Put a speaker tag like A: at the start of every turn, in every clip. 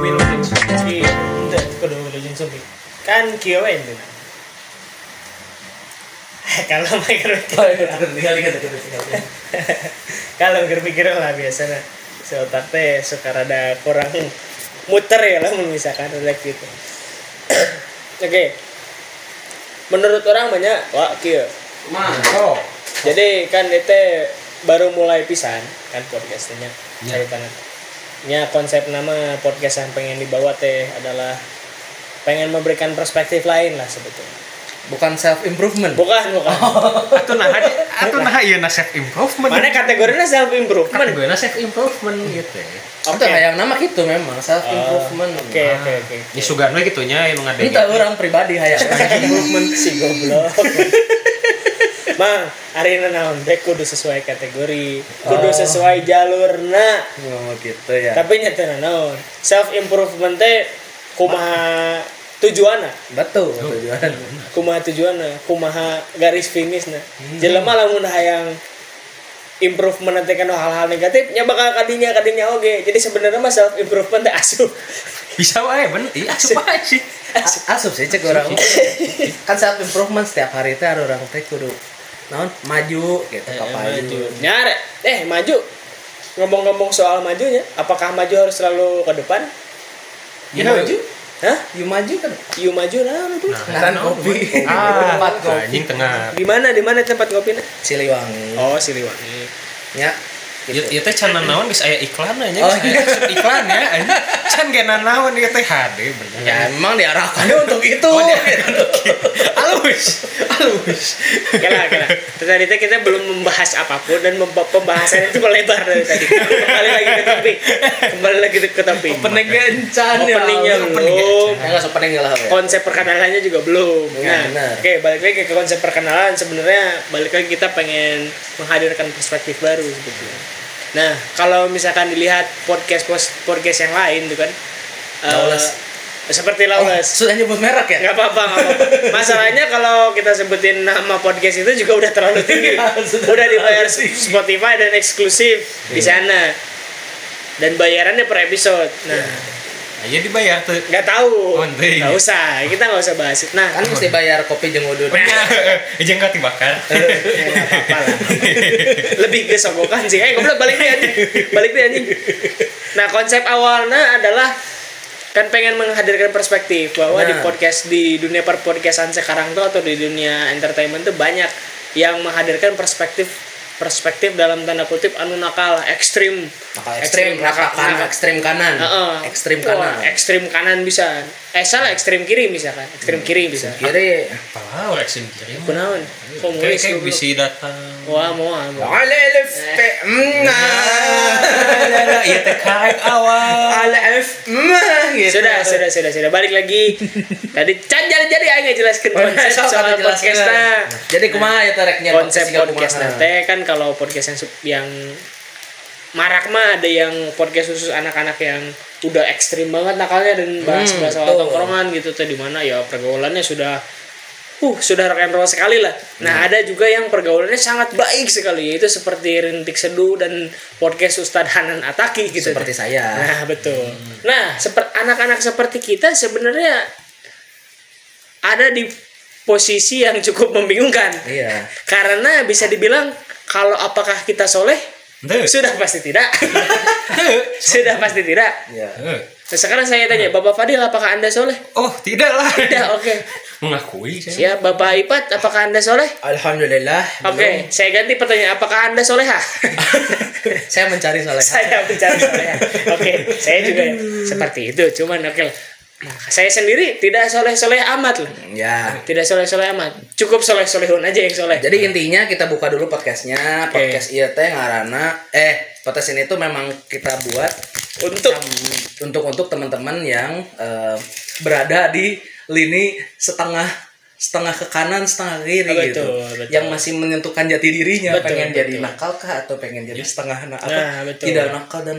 A: Willow Johnson. Ki, hindi. Kudo Willow Johnson. eh. Kan QN din. Kalau may
B: Oh,
A: kerja.
B: iya, tinggal lihat aja tinggal lihat.
A: Kalau mikir lah biasa na. So otak teh suka rada kurang muter ya lah mun misalkan rada gitu. Oke. Menurut orang banyak wah kieu.
B: Mana? Oh.
A: Jadi kan itu baru mulai pisan kan podcastnya
B: Ya.
A: ceritanya. Ya konsep nama podcast yang pengen dibawa teh adalah pengen memberikan perspektif lain lah sebetulnya.
B: Bukan self improvement.
A: Bukan bukan.
C: Atuh nah atuh nah ieu na self
D: iya.
C: improvement.
A: Mana kategorinya self improvement.
C: gue na self improvement gitu. ya.
B: Itu yang nama gitu memang self improvement.
A: Oh, Oke oke oke.
C: Ya
D: Iya.
C: sugan we gitu nya emang ada.
B: Ini tak orang pribadi hayang self improvement.
A: si goblok Mang, hari ini naon back kudu sesuai kategori, kudu sesuai jalurna.
B: Oh, gitu ya.
A: Tapi nyata naon? Self improvement teh kumaha tujuanna?
B: Betul tujuan.
A: Kumaha tujuanna? Kumaha garis finishna? Jelema lamun hayang improvement nanti kan hal-hal negatif nya bakal kadinya kadinya oge. Jadi sebenarnya mah self improvement teh asup.
C: Bisa wae bentik asup aja sih.
B: A- Asup sih cek orang. Kan self improvement setiap hari teh ada orang teh kudu naon maju gitu
A: Eh,
B: kapaju.
A: Nyare, eh maju. Ngomong-ngomong soal majunya, apakah maju harus selalu ke depan?
C: Ya maju.
A: Hah?
B: Yuk maju kan.
A: Ieu maju Iya, nah aduh.
B: Ngaran kopi.
C: Ah,
B: Tempat kopi.
C: anjing tengah.
A: Di mana di mana tempat kopinya?
B: Siliwangi.
A: Oh, Siliwangi.
B: Ya.
C: Ya, ya teh can naon geus aya iklan aja,
B: Oh,
C: geus aya masuk iklan ya. anjing. Can ge naon ieu teh HD bener.
B: Ya emang diarahkannya untuk itu.
C: Oh, dia-
B: gitu.
C: Alus, alus.
A: Oke lah, oke lah. Tadi teh kita belum membahas apapun dan mem- pembahasan itu melebar dari tadi. Kembali lagi ke topik. Kembali lagi ke topik.
B: Opening gencan ya.
A: Openingnya
C: Opening
A: belum.
B: Ya enggak opening lah. we.
A: Konsep perkenalannya juga belum.
B: Iya,
A: Nah,
B: benar.
A: oke, balik lagi ke konsep perkenalan. Sebenarnya balik lagi kita pengen menghadirkan perspektif baru sebetulnya. Nah, kalau misalkan dilihat podcast podcast yang lain tuh kan. eh,
B: Lawless.
A: seperti
B: Oh,
A: Lawless.
B: sudah nyebut merek ya?
A: Gak apa-apa, nggak apa-apa. Masalahnya kalau kita sebutin nama podcast itu juga udah terlalu tinggi.
B: Iya, sudah
A: udah dibayar
B: terlalu tinggi. Iya.
A: Spotify dan eksklusif di sana. Dan bayarannya per episode. Nah,
C: Aja dibayar tuh.
A: nggak tahu.
C: Oh, nanti.
A: Nggak usah. Kita nggak usah bahas itu. Nah,
B: Iya. Kan mesti bayar kopi jeung udut.
C: Jeung kati bakar.
A: ya, nggak apa-apa lah. Eh. Lebih ke sogokan sih. Eh, goblok balik deh anjing. Balik deh anjing. Nah, konsep awalnya adalah kan pengen menghadirkan perspektif bahwa di
B: Nah.
A: podcast di dunia perpodcastan sekarang tuh atau di dunia entertainment tuh banyak yang menghadirkan perspektif perspektif dalam tanda kutip anu nakal ekstrim
B: Nakal ekstrim, nakal kanan, ekstrim kanan.
A: Heeh.
B: Ekstrim kanan.
A: Wah, ekstrim kanan bisa eh salah ekstrim kiri misalkan ekstrim kiri bisa
B: Hmm, Kiri.
C: Pala orang sing kirim.
A: kunaon
C: Kayak
A: komunis
C: kayak
A: goblok.
C: bisi datang.
A: wah moal moal.
B: Ale elif te mna.
C: Iya teh karek awal.
B: Ale elif mna gitu.
A: sudah sudah sudah sudah balik lagi tadi can jadi jadi aing ngejelaskeun
B: Oh,
A: konsep
B: sok
A: soal
B: atuh jelaskeun.
A: podcast
B: Jadi kumaha ya tareknya
A: konsep
B: tinggal
A: podcast
B: kumaha.
A: nanti kan kalau podcast yang sup- yang marak mah ada yang podcast khusus anak-anak yang udah ekstrim banget nakalnya dan bahas bahas soal
B: Hmm, betul.
A: tongkrongan gitu tuh di mana ya pergaulannya sudah uh sudah rock and roll sekali lah. Nah
B: Hmm.
A: ada juga yang pergaulannya sangat baik sekali yaitu seperti Rintik Seduh dan podcast Ustadz Hanan Ataki gitu.
B: Seperti saya.
A: Nah, betul. Nah, seperti anak-anak seperti kita sebenarnya ada di posisi yang cukup membingungkan.
B: Iya.
A: Karena bisa dibilang kalau apakah kita soleh?
C: Henteu.
A: Sudah pasti tidak. Sudah pasti tidak.
B: Iya.
C: Henteu.
A: Nah, sekarang saya tanya, Bapak Fadil apakah Anda soleh?
C: Oh, tidak lah.
A: Tidak, oke.
C: Mengakui saya.
A: Ya, Bapak Ipat apakah Anda soleh?
B: Alhamdulillah.
A: Oke, saya ganti pertanyaan, apakah Anda soleha?
B: Saya mencari soleha.
A: saya bicara soleh. Oke, saya juga seperti itu. Cuman oke, lah. Nah, saya sendiri tidak soleh-soleh amat loh.
B: Ya.
A: Tidak soleh-soleh amat. Cukup soleh-solehun aja yang soleh.
B: Jadi intinya kita buka dulu podcastnya. Podcast iya teh ngarana. Eh, podcast ini tuh memang kita buat
A: Untuk
B: untuk untuk teman-teman yang eh, berada di lini setengah setengah ke kanan setengah ke kiri
A: Betul,
B: gitu
A: betul.
B: yang masih menentukan jati dirinya
A: Betul,
B: pengen jadi
A: betul.
B: nakal kah atau pengen jadi setengah na- apa,
A: Nah, betul.
B: tidak nakal dan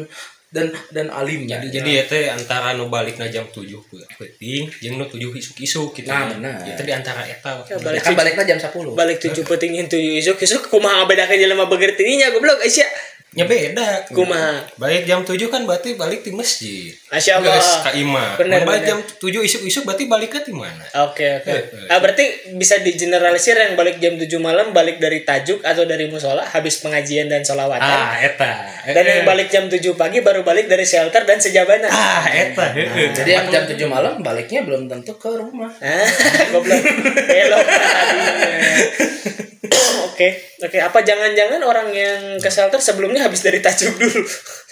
B: dan dan alim gitu.
D: jadi jadi ya teh antara nu balik na jam 7 ku penting jeung nu 7 isuk-isuk gitu
B: Nah,
D: ya.
B: benar.
D: Itu di antara eta
A: Ya,
B: Ya
A: balik
B: kan
A: tujuh-
B: baliknya jam 10
A: balik tujuh penting yang tujuh isuk isuk kumaha beda aja lama begertinya goblok Aisyah
D: nya beda
A: kumaha
D: balik jam 7 kan berarti balik di masjid
A: Masya Allah.
D: Geus ka imah
A: Bener,
D: Mun balik
A: bener.
D: jam 7 isuk-isuk berarti baliknya di mana
A: Oke oke.
D: Eh, eh.
A: Ah berarti bisa digeneralisir yang balik jam 7 malam balik dari tajuk atau dari musola habis pengajian dan solawatan.
D: ah eta
A: Dan yang balik jam 7 pagi baru balik dari shelter dan sejabana.
D: ah eta Nah, heeh
B: jadi yang jam 7 malam baliknya belum tentu ke rumah
A: Ah, goblok. Belok tadinya. Oke, oke. Apa jangan-jangan orang yang ke shelter sebelumnya habis dari tajuk dulu.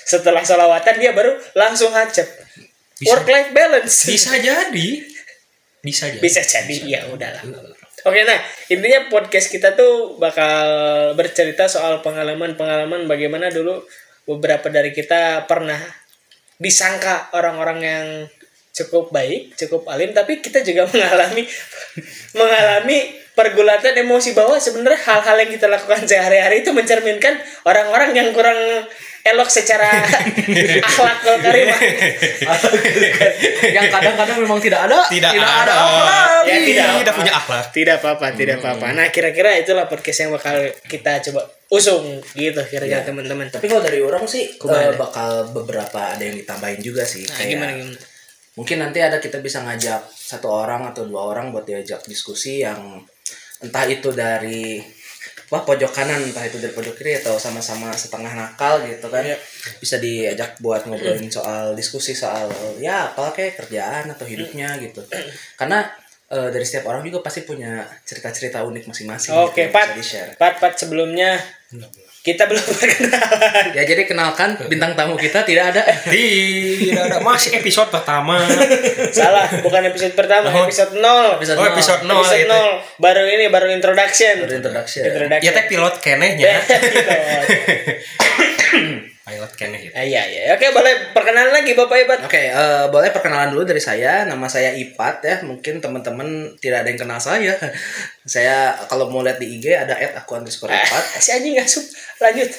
A: Setelah solawatan dia baru langsung hacep.
D: Bisa.
A: Work life balance.
D: bisa jadi bisa jadi
A: bisa jadi ya udahlah oke nah intinya podcast kita tuh bakal bercerita soal pengalaman-pengalaman bagaimana dulu beberapa dari kita pernah disangka orang-orang yang cukup baik cukup alim tapi kita juga mengalami mengalami pergulatan emosi bahwa sebenarnya hal-hal yang kita lakukan sehari-hari itu mencerminkan orang-orang yang kurang elok secara akhlakul karimah
B: yang kadang-kadang memang tidak ada
D: tidak,
B: ada,
D: ada,
B: apa
A: Ya, tidak.
D: tidak punya akhlak
A: Tidak apa-apa, tidak
B: Hmm.
A: apa-apa. Nah, kira-kira itulah podcast yang bakal kita coba usung gitu kira-kira
B: Iya.
A: teman-teman.
B: tapi kalau dari orang sih
A: Kemana?
B: eh, bakal beberapa ada yang ditambahin juga sih
A: Nah,
B: kayak-
A: gimana gimana?
B: mungkin nanti ada kita bisa ngajak satu orang atau dua orang buat diajak diskusi yang entah itu dari wah pojok kanan entah itu dari pojok kiri atau sama-sama setengah nakal gitu kan
A: Iya.
B: bisa diajak buat ngobrolin soal diskusi soal ya apa kayak kerjaan atau hidupnya gitu karena eh, dari setiap orang juga pasti punya cerita-cerita unik masing-masing
A: Oke,
B: gitu, yang
A: Pat.
B: bisa di-share.
A: Pat Pat sebelumnya kita belum perkenalan.
B: ya jadi kenalkan bintang tamu kita tidak ada
D: tidak ada masih episode pertama
A: Salah, bukan episode pertama,
D: Oh.
A: episode 0.
B: Episode
D: oh
B: nol.
D: episode nol
A: Episode
D: itu
A: 0. Baru ini baru introduction.
B: Baru Iya. introduction.
D: ya
A: Introduction.
D: teh pilot kenehnya
A: Gitu.
D: pilot keneh ya
A: Ah, Iya, iya. Oke, boleh perkenalan lagi Bapak Ibat.
B: Oke, eh, boleh perkenalan dulu dari saya. Nama saya Ipat ya. Mungkin teman-teman tidak ada yang kenal saya. saya kalau mau lihat di IG ada at aku underscore
A: Ah,
B: Ipat.
A: si anjing ngasup. Lanjut.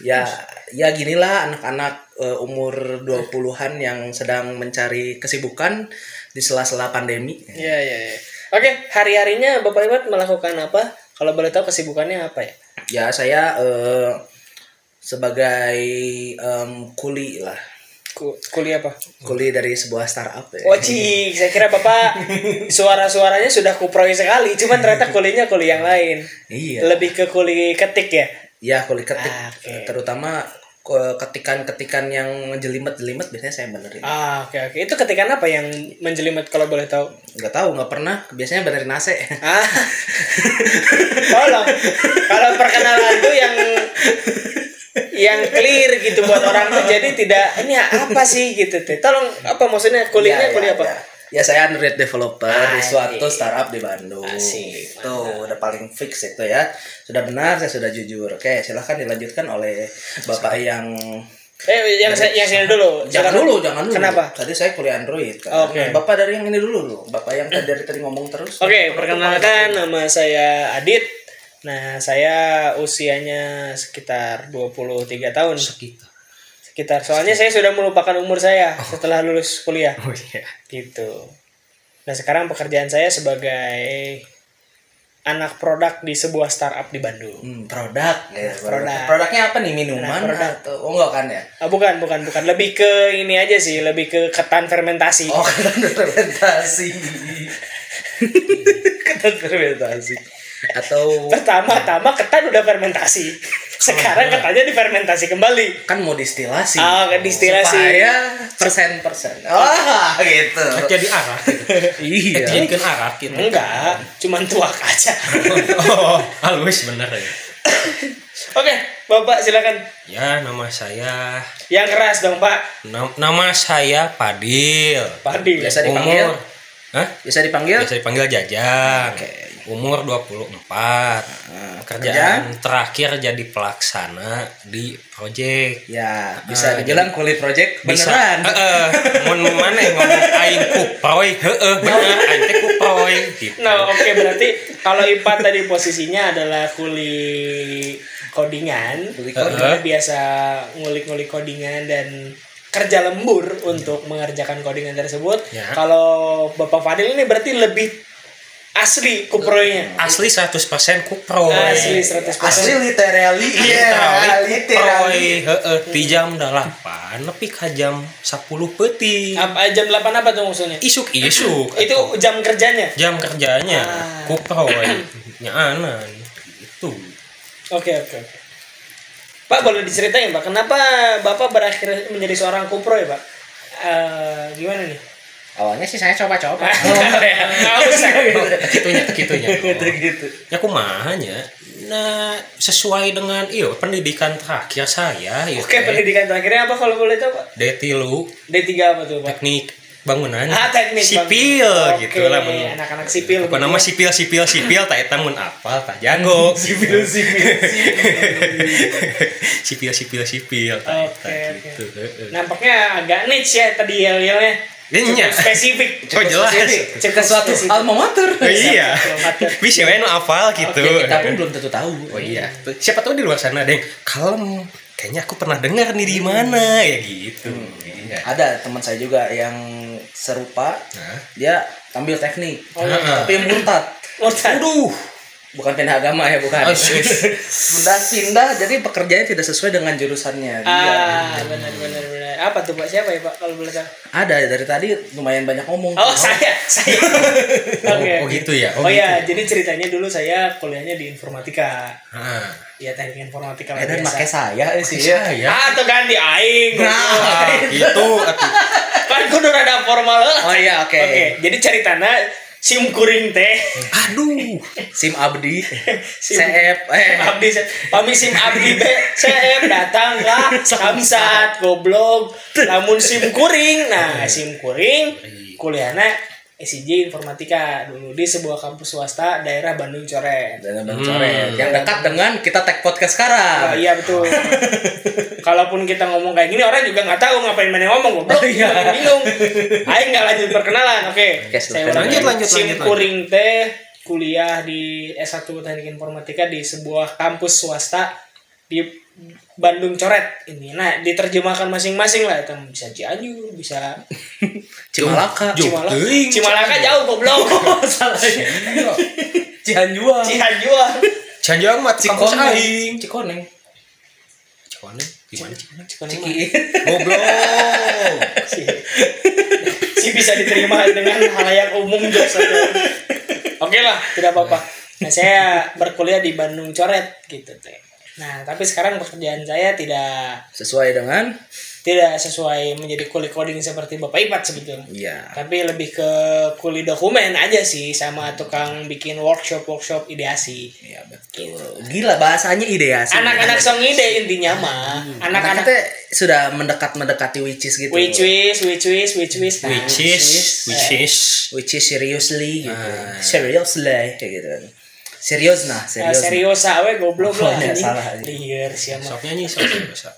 B: Ya, ya ginilah anak-anak eh, umur 20-an yang sedang mencari kesibukan di sela-sela pandemi.
A: Iya, iya, iya. Oke, hari-harinya Bapak Ibat melakukan apa? Kalau boleh tahu kesibukannya apa ya?
B: Ya, saya eh, sebagai em, kuli lah.
A: Ku- Kuliah apa?
B: Kuli dari sebuah startup ya.
A: Oh cik, saya kira bapak suara-suaranya sudah kuproi sekali, cuman ternyata kulinya kuli yang lain.
B: Iya.
A: Lebih ke kuli ketik ya.
B: Ya, kuli ketik
A: Ah, oke.
B: terutama eh, ketikan-ketikan yang jelimet-jelimet biasanya saya benerin.
A: Ah oke oke, itu ketikan apa yang menjelimet kalau boleh tahu?
B: nggak tahu nggak pernah biasanya benerin AC
A: Ah, tolong kalau perkenalan tuh yang yang clear gitu buat orang tuh jadi tidak ini apa sih gitu teh. Tolong apa maksudnya kuliahnya
B: Ya,
A: kuliah
B: ya,
A: apa?
B: ya. ya saya Android developer di
A: Asik.
B: suatu startup di Bandung
A: Asik,
B: itu udah paling fix itu ya sudah benar saya sudah jujur oke silahkan dilanjutkan oleh bapak yang
A: Eh yang saya- yang sini dulu.
B: jangan
A: Silakan.
B: dulu jangan dulu
A: Kenapa?
B: tadi saya kuliah Android kan
A: Oke.
B: bapak dari yang ini dulu loh bapak yang tadi dari tadi ngomong terus
A: Oke, perkenalkan nama saya Adit. Nah, saya usianya sekitar 23 tahun.
D: kita
A: Sekitar. Soalnya saya sudah melupakan umur saya setelah lulus kuliah.
D: oh iya
A: Gitu. Nah, sekarang pekerjaan saya sebagai anak produk di sebuah startup di Bandung.
B: Hmm, produk ya,
A: Iya, Produk.
B: produknya apa nih minuman
A: Nah, produk.
B: atau oh enggak kan ya
A: Ah, bukan, bukan, bukan. Lebih ke ini aja sih, lebih ke ketan fermentasi.
B: oh kan fermentasi
A: ketan fermentasi.
B: atau
A: Pertama-tama ketan udah fermentasi. Sekarang ketannya difermentasi kembali.
B: kan mau distilasi.
D: Oh,
A: Ah, kan distilasi.
B: Supaya persen-persen. Oh, gitu.
D: jadi arak gitu.
B: Iya.
D: jadikan arak gitu
A: Enggak, cuman tuak aja.
D: oh halus bener ya
A: Oke, Bapak silakan.
D: ya nama saya
A: Yang keras dong, Pak.
D: nam- nama saya Padil
A: Padi.
B: Biasa dipanggil.
D: umur Hah?
B: Bisa dipanggil?
D: biasa dipanggil Jajang
B: Oke. Ah,
D: umur 24 Ah, kerjaan terakhir jadi pelaksana di project Eh,
B: Ya, bisa dibilang kulit project beneran.
D: Ah, Heeh. Mun mana yang ngomong aing kuproy, heeh bener aing teh kuproy. poin gitu.
A: Nah, oke berarti kalau IPA tadi posisinya adalah kuli codingan,
B: Kuli
A: dia biasa ngulik-ngulik codingan dan kerja lembur untuk mengerjakan codingan tersebut.
D: Ya.
A: Kalau Bapak Fadil ini berarti lebih asli kuproynya.
D: Asli 100% kupro.
A: Asli 100%.
B: Asli literally.
D: Literally, heeh, di jam 8 nepi ka jam 10 peti.
A: Apa jam 8 apa tuh maksudnya?
D: Isuk-isuk.
A: Itu jam kerjanya.
D: jam kerjanya
A: Ah.
D: kuproy nyaanan gitu
A: Oke, oke, oke. Pak boleh diceritain Pak, kenapa Bapak berakhir menjadi seorang kuproy Pak? Eh, gimana nih?
B: Awalnya sih saya coba-coba.
D: Ah.
B: Oh,
A: Nggak usah.
D: Oh, kitunya kitunya
B: gitu.
D: ya kumahanya nah sesuai dengan iyo pendidikan terakhir saya ieu
A: Oke,
D: teh.
A: pendidikan terakhirnya apa kalau boleh tahu, Pak?
D: detilu
A: D3 apa tuh, Pak?
D: teknik bangunan
A: Ah, teknik
D: sipil
A: bangunan. Oke,
D: gitu lah mun-
A: anak-anak sipil.
D: apa nama sipil sipil sipil tak eta mun apal tak jago sipil sipil sipil sipil sipil tak eta
A: Oke, Nah, oke.
D: gitu heeh.
A: Nampaknya agak niche ya tadi yel-yelnya.
D: Iya.
A: Cukup spesifik.
D: Oh, jelas.
A: Cerita
B: Suatu alma mater.
D: Oh, iya
A: Sipil.
D: bisa we nu apal gitu
B: Ya, kita pun belum tentu tahu.
D: Oh iya, Tuh, siapa tahu di luar sana ada yang kalem. Kayaknya aku pernah dengar nih di mana ya gitu. Iya.
B: Ada teman saya juga yang serupa.
D: Nah.
B: Dia ambil teknik,
A: Oh, iya.
B: tapi murtad.
A: Murtad.
D: Aduh,
B: Bukan pindah agama ya, bukan.
A: Oh, iya.
D: asus.
B: Pindah pindah jadi pekerjaannya tidak sesuai dengan jurusannya. Dia.
A: Ah,
D: Iya.
A: benar benar benar. Apa tuh, Pak? Siapa ya, Pak? Kalau boleh tahu.
B: Ada dari tadi lumayan banyak ngomong.
A: Oh, saya, saya.
D: Oh,
A: Oke.
D: oh gitu ya.
A: Oh,
D: Oh, gitu.
A: iya, jadi ceritanya dulu saya kuliahnya di informatika.
D: Ah,
A: Ya teknik informatika lah
B: Eh,
A: biasa.
B: dan pakai saya eh, sih.
D: iya ya.
A: Ah, tuh kan di aing.
B: Nah.
D: Ah, gitu. atuh.
A: kan kudu rada formal lah.
B: Oh iya, oke.
A: Oke, jadi ceritana sim kuring teh.
D: Aduh.
B: Sim Abdi,
A: Sim-
B: CF, eh,
A: Abdi se- pami sim abdi teh CF datang lah samsat goblok. Lamun sim kuring. Nah, sim kuring kuliahna SIJ Informatika dulu di sebuah kampus swasta daerah Bandung Coret.
B: dan Abang Coret. yang dekat dengan kita tag podcast sekarang.
A: Oh, iya betul. Kalaupun kita ngomong kayak gini orang juga nggak tahu ngapain mana ngomong goblok.
B: Oh, iya.
A: makin bingung. Aing nggak lanjut perkenalan. Oke.
B: Oke,
A: saya
B: silakan.
A: ulangi.
D: Lanjut, lanjut,
A: Sim
D: lanjut, lanjut.
A: Kuring teh kuliah di S1 Teknik Informatika di sebuah kampus swasta di Bandung Coret ini. Nah, diterjemahkan masing-masing lah itu bisa Cianjur, bisa
B: Cimalaka,
D: Jum-
A: Cimalaka.
D: teuing.
A: Cimalaka jauh goblok.
B: salahnya. Cianjuang,
A: Cianjur.
D: Janjang mah kampus aing.
B: Cikoneng,
D: Cikoneng, gimana Cikoneng?
B: Ciki.
D: Goblok.
A: sih sih bisa diterima dengan halayak umum jokes atau oke lah tidak apa-apa nah saya berkuliah di Bandung coret gitu teh nah tapi sekarang pekerjaan saya tidak
B: Sesuai dengan,
A: tidak sesuai menjadi kuli coding seperti bapak Ipat sebetulnya
B: iya.
A: tapi lebih ke kuli dokumen aja sih sama tukang bikin workshop workshop ideasi
B: Iya betul. Gila bahasanya ideasi.
A: anak-anak song ide intinya mah
B: anak-anak
A: anak-anak
B: teh sudah mendekat mendekati witches gitu.
A: which is which is which is nah,
D: Which is, eh, which is.
B: which is seriously gitu
A: Ah.
B: seriously kayak gitu kan serius nah
A: Ya,
B: serius
A: serius awe goblok
B: Oh,
A: lah
B: iya,
A: anjing.
B: salah, anjing.
A: Liar sih emang.
D: Sok nyanyi sok nyanyi, sok.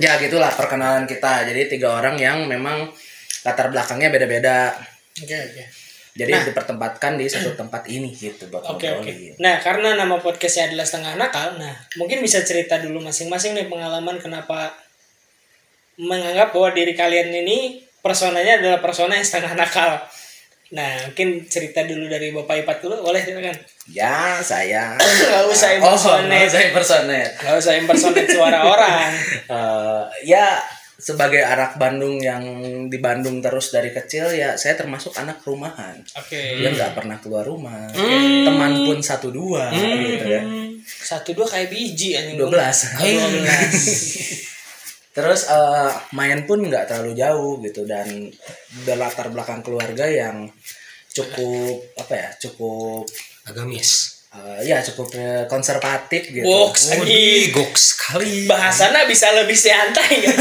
B: ya gitulah perkenalan kita jadi tiga orang yang memang latar belakangnya beda-beda
A: Oke oke.
B: jadi dipertempatkan di satu tempat ini gitu buat
A: Nah. Oke oke.
B: ngobrolin.
A: Nah, karena nama podcastnya adalah setengah nakal, nah mungkin bisa cerita dulu masing-masing nih pengalaman kenapa menganggap bahwa diri kalian ini personanya adalah persona yang setengah nakal. Nah, mungkin cerita dulu dari Bapak Ipat dulu, boleh silakan.
B: ya saya
A: Gak usah
B: oh nggak
A: impersonate.
B: usah impersonate
A: Gak usah impersonate suara orang.
B: Eh, ya sebagai anak Bandung yang di Bandung terus dari kecil ya saya termasuk anak rumahan
A: Oke.
B: dia nggak pernah keluar rumah teman pun satu dua gitu kan
A: Hmm, Satu dua kayak biji anjing.
B: dua belas
A: Dua belas.
B: Terus eh, main pun nggak terlalu jauh gitu dan udah latar belakang keluarga yang cukup apa ya cukup
D: Agamis.
B: eh, ya cukup eh, konservatif gitu.
A: Woks
D: Waduh,
A: anjing.
D: gok sekali.
A: Bahasana bisa lebih santai ya.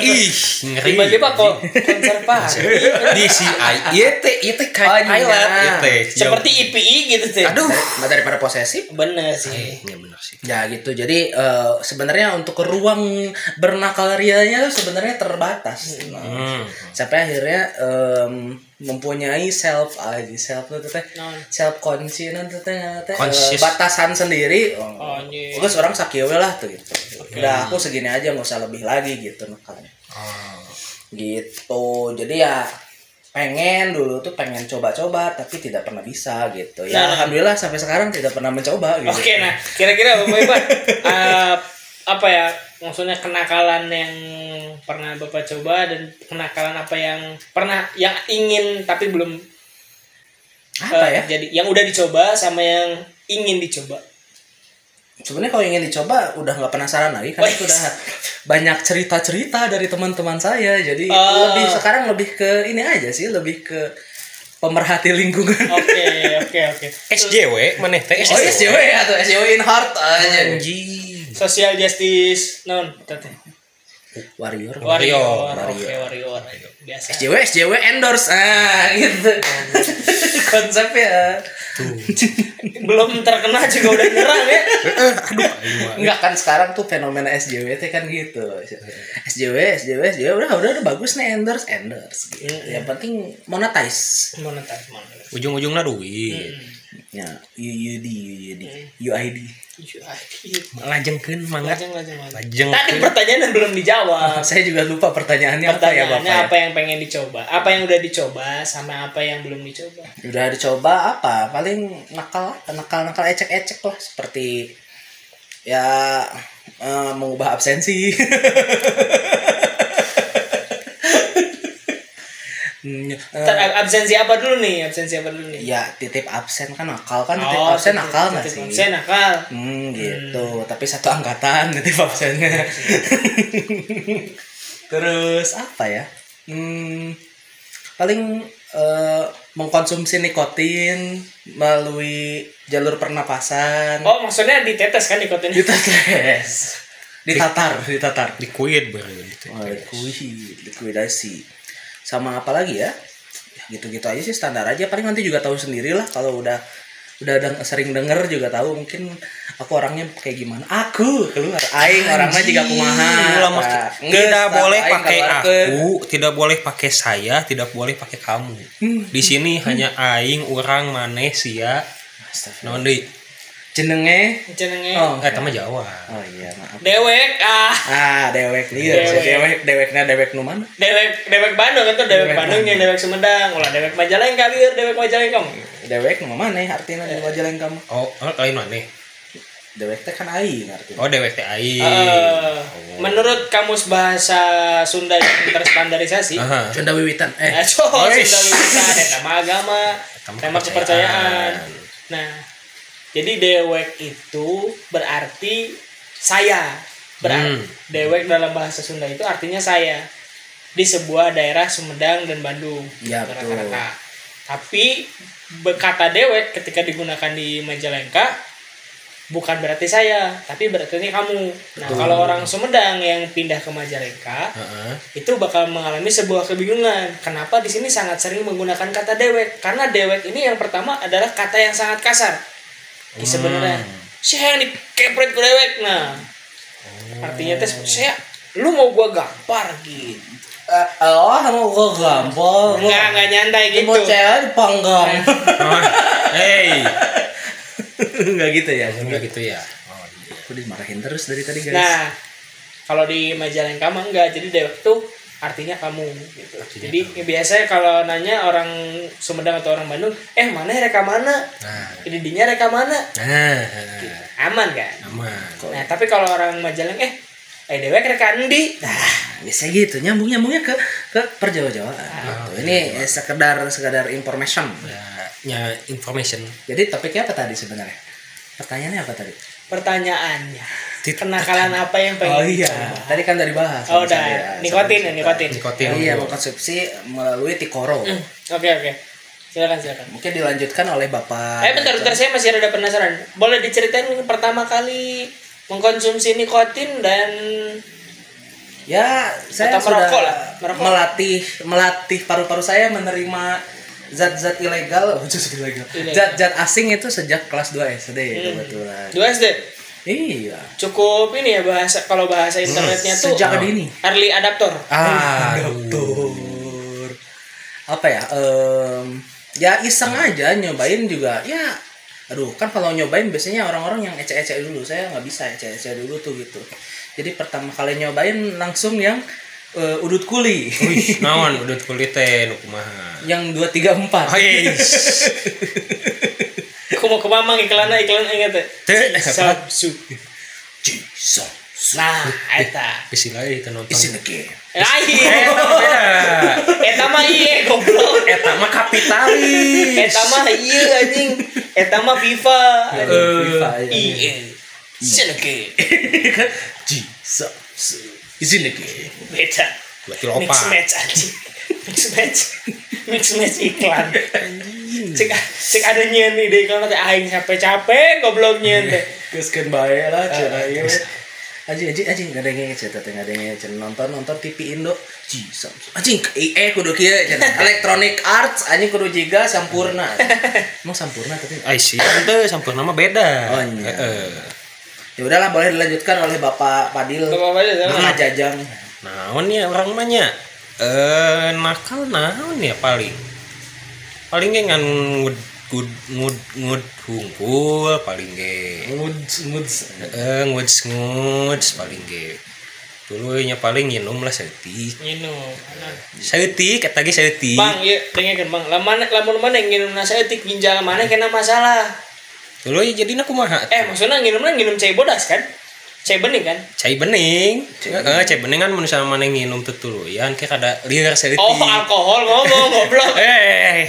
D: Ih, ngeri.
A: tiba-tiba kok konservasi
D: di si I iya teh iya
B: Oh,
D: teh kayak
B: iya.
D: Thailand iya teh
A: seperti IPI gitu sih
D: aduh
B: Nah, daripada posesif.
A: bener sih
D: ya benar sih
B: Ya gitu. Jadi eh, sebenarnya untuk ruang bernakal rianya sebenarnya terbatas. Nah,
D: hmm.
B: sampai akhirnya em, mempunyai self aja self itu teh
A: Naon?
B: self conscious itu teh nyawa teh, eh,
D: Conscious.
B: batasan sendiri oh,
A: Anjing.
B: terus orang sakieu we lah tuh gitu udah aku segini aja nggak usah lebih lagi gitu nakalnya
D: Ah.
B: gitu jadi ya pengen dulu tuh pengen coba-coba tapi tidak pernah bisa gitu ya
A: Nah.
B: alhamdulillah sampai sekarang tidak pernah mencoba gitu
A: Oke, nah kira-kira Bapak Ipan eh, apa ya maksudnya kenakalan yang pernah Bapak coba dan kenakalan apa yang pernah yang ingin tapi belum
B: apa
A: eh,
B: ya
A: jadi yang udah dicoba sama yang ingin dicoba.
B: sebenarnya kalau ingin dicoba udah nggak penasaran lagi karena
A: Wih.
B: sudah banyak cerita-cerita dari teman-teman saya jadi
A: Ah.
B: lebih sekarang lebih ke ini aja sih lebih ke pemerhati lingkungan
A: Oke, oke, oke.
D: SJW eh, mana teh
B: oh SJW atau SJW in heart aja
A: Hmm.
D: Anjing.
A: Social justice non tete.
B: warrior
A: warrior.
B: Warrior.
A: Oke, warrior. Biasa.
B: SJW SJW endorse ah gitu
A: Hmm.
B: konsepnya
A: Belum terkenal juga udah nyerang ya.
B: Enggak kan sekarang tuh fenomena SJW teh kan gitu. SJW, SJW, SJW udah udah udah bagus nih endorse, endorse. Gitu.
A: Hmm.
B: Yang penting monetize.
A: Monetar, monetar.
D: Ujung-ujungnya duit.
B: Ya, UUD, UUD, UID.
D: Hmm. Lajengkeun mangga.
A: Lajeng, lajeng, lajeng.
D: Lajeng.
A: Tadi pertanyaannya belum dijawab.
B: Oh, Saya juga lupa pertanyaannya apa ya
A: Pertanyaannya
B: Bapak.
A: apa yang pengen dicoba? Apa yang udah dicoba sama apa yang belum dicoba?
B: ya? Udah dicoba apa? Paling nakal, nakal, nakal ecek-ecek lah seperti ya eh, mengubah absensi. Hmm, eh,
A: Ntar, absensi apa dulu nih? Absensi apa dulu nih?
B: Ya titip absen kan nakal kan titip absen nakal nggak sih?
A: Oh, Absen nakal.
B: Hmm gitu tapi satu angkatan titip absennya. Terus apa ya? Hmm paling eh, mengkonsumsi nikotin melalui jalur pernapasan.
A: Oh, maksudnya ditetes kan nikotinnya?
B: Ditetes. Ditatar, ditatar.
D: Dikuit bareng gitu.
B: Oh, likuid, likuidasi. Sama apa lagi ya? Ya, Gitu-gitu aja sih standar aja. Paling nanti juga tahu sendiri lah kalau udah udah deng- sering denger juga tahu mungkin aku orangnya kayak gimana. Aku keluar aing orangnya juga kumaha.
D: Ulah mah,
B: Nah,
D: tidak
B: ngeus,
D: boleh
B: aing
D: pakai
B: kaluarkeun.
D: aku, tidak boleh pakai saya, tidak boleh pakai kamu. Di sini hanya aing, orang, maneh, sia,
B: Astagfirullah.
D: naon deui?
B: Jenenge
A: Jenenge
B: Oh,
D: Eh, tama Jawa.
B: oh iya maaf.
A: dewek ah
B: Ah, dewek lieu.
A: Dewek.
B: Dewek dewekna dewek nu mana?
A: dewek dewek Bandung itu dewek Bandung yang dewek Sumedang ulah dewek Majalengka liur dewek Majalengka kamu
B: Dewek nu maneh artinya di wajah lain kamu.
D: Oh, eh, lain maneh.
B: Dewek teh kan aing artinya.
D: Oh, dewek teh aing.
A: Eh, menurut kamus bahasa Sunda yang terstandarisasi
D: Aha.
B: Cunda wiwitan. Eh,
A: Eh, cowok
D: Yes.
A: Sunda Wiwitan, ya, tema agama,
D: Tema
A: tema kepercayaan.
D: kepercayaan.
A: Nah, jadi dewek itu berarti saya. Berarti
D: Hmm.
A: dewek dalam bahasa Sunda itu artinya saya di sebuah daerah Sumedang dan Bandung.
B: Ya, betul.
A: Rata-rata. Tapi be- kata dewek ketika digunakan di Majalengka bukan berarti saya, tapi berarti kamu. Nah, kalau orang Sumedang yang pindah ke Majalengka,
D: Heeh.
A: itu bakal mengalami sebuah kebingungan. Kenapa di sini sangat sering menggunakan kata dewek? Karena dewek ini yang pertama adalah kata yang sangat kasar. Ini sebenarnya saya yang dikepret ku dewek. Nah, artinya tes saya lu mau gua gampar gitu.
B: eh, oh, mau gua gampol. gua-
D: Iya.
A: Enggak, enggak nyantai
B: Ini
A: gitu.
B: mau cewek dipanggang.
D: Ah, Hey,
B: Enggak gitu ya.
D: enggak gitu ya. Oh, iya.
B: Aku dimarahin terus dari tadi guys.
A: Nah, kalau di Majalengka mah enggak. Jadi dewek tuh artinya kamu gitu. Jadi biasanya kalau nanya orang Sumedang atau orang Bandung, eh mana reka mana?
D: Nah,
A: Ini dinya reka mana?
D: nah,
A: Aman kan?
D: aman.
A: Nah, tapi kalau orang Majaleng eh eh dewek rek Andi. Nah,
B: biasanya gitu nyambung nyambungnya ke ke perjawa-jawaan.
A: Ah,
B: gitu. Ini eh, sekedar sekedar information.
D: Ya, ya information.
B: Jadi topiknya apa tadi sebenarnya? Pertanyaannya apa tadi?
A: pertanyaannya.
D: Tit- Oh, iya.
A: Kenakalan apa yang pengen?
B: tadi kan dari bahas.
A: iya. Oh, udah. Nikotin ya, nikotin.
D: Nikotin.
B: Iya, mengkonsumsi melalui tikoro.
A: Oke, oke. Silakan, silakan.
B: Mungkin dilanjutkan oleh Bapak.
A: Eh, bentar, bentar saya masih ada penasaran. Boleh diceritain pertama kali mengkonsumsi nikotin dan
B: Ya, saya
A: Atau
B: sudah
A: merokok lah, merokok.
B: melatih melatih paru-paru saya menerima zat-zat ilegal, oh, zat ilegal.
A: Ilegal. Hmm.
B: Zat-zat asing itu sejak kelas 2 SD kebetulan.
A: 2 SD.
B: Iya.
A: Cukup ini ya bahasa kalau bahasa internetnya tuh
B: Sejak dini.
A: early adaptor.
D: Ah,
B: Doktor. apa ya em, ya iseng aja nyobain juga ya aduh kan kalau nyobain biasanya orang-orang yang ece-ece dulu saya nggak bisa ece-ece dulu tuh gitu jadi pertama kali nyobain langsung yang eh, udut kuli
D: Wih, naon udut kulit teh nu kumaha. Oh, iya,
B: yang dua tiga empat
D: Hei.
A: Aku mau ke Mamang iklannya iklan ingat ya.
D: Teh,
A: Sabsu.
B: Jisung
A: Nah, eta.
D: Bisi lain teu nonton.
B: is in the game
A: Lain. iya. Eta mah iye goblok.
D: Eta mah kapitalis.
A: Eta mah iye anjing. Eta mah FIFA. Iya.
B: FIFA ya.
A: Iye. Seneke.
B: Jisung is in the game
A: Beda.
D: Berarti
A: Mix
D: lopa.
A: match anjing. Mix match. Mix match iklan. Cek cek ada nyeun nih deh kalau teh aing capek-capek goblok nyeun teh.
B: Terus kan bae lah cina ieu. Anjing anjing anjing nggak ada yang ngece teh nggak ada yang ngece nonton nonton TV Indo. Ji Samsung. Anjing eh kudu kieu cenah. Electronic Arts anjing kudu jiga sampurna. Emang sampurna tapi
D: Ai sih, ente sampurna mah beda.
B: Oh, iya.
D: Heeh.
B: ya udahlah boleh dilanjutkan oleh Bapak Padil.
A: Bapak Padil, sama.
B: Nah, jajang.
D: Naon ya orang mah nya? Eh, nakal naon ya paling. Paling ge ngan ngud ngud ngud ngud hungkul paling ge.
B: Moods moods.
D: Heeh, nguds nguds paling ge. Dulu nya paling nginum lah seutik.
A: Minum.
D: Seutik eta ge seutik.
A: Bang, ya dengarkan bang. Lamun lamun mana nginum nasi etik ginjal mana kena masalah.
D: Dulu jadi kumaha?
A: Eh maksudnya nginumnya nginum cai bodas kan? Cai bening kan?
D: Cai bening. Heeh, cai bening kan mun sama maneh nginum tutuluyan ke kada liar seutik.
A: Oh alkohol ngomong goblok.
D: Eh.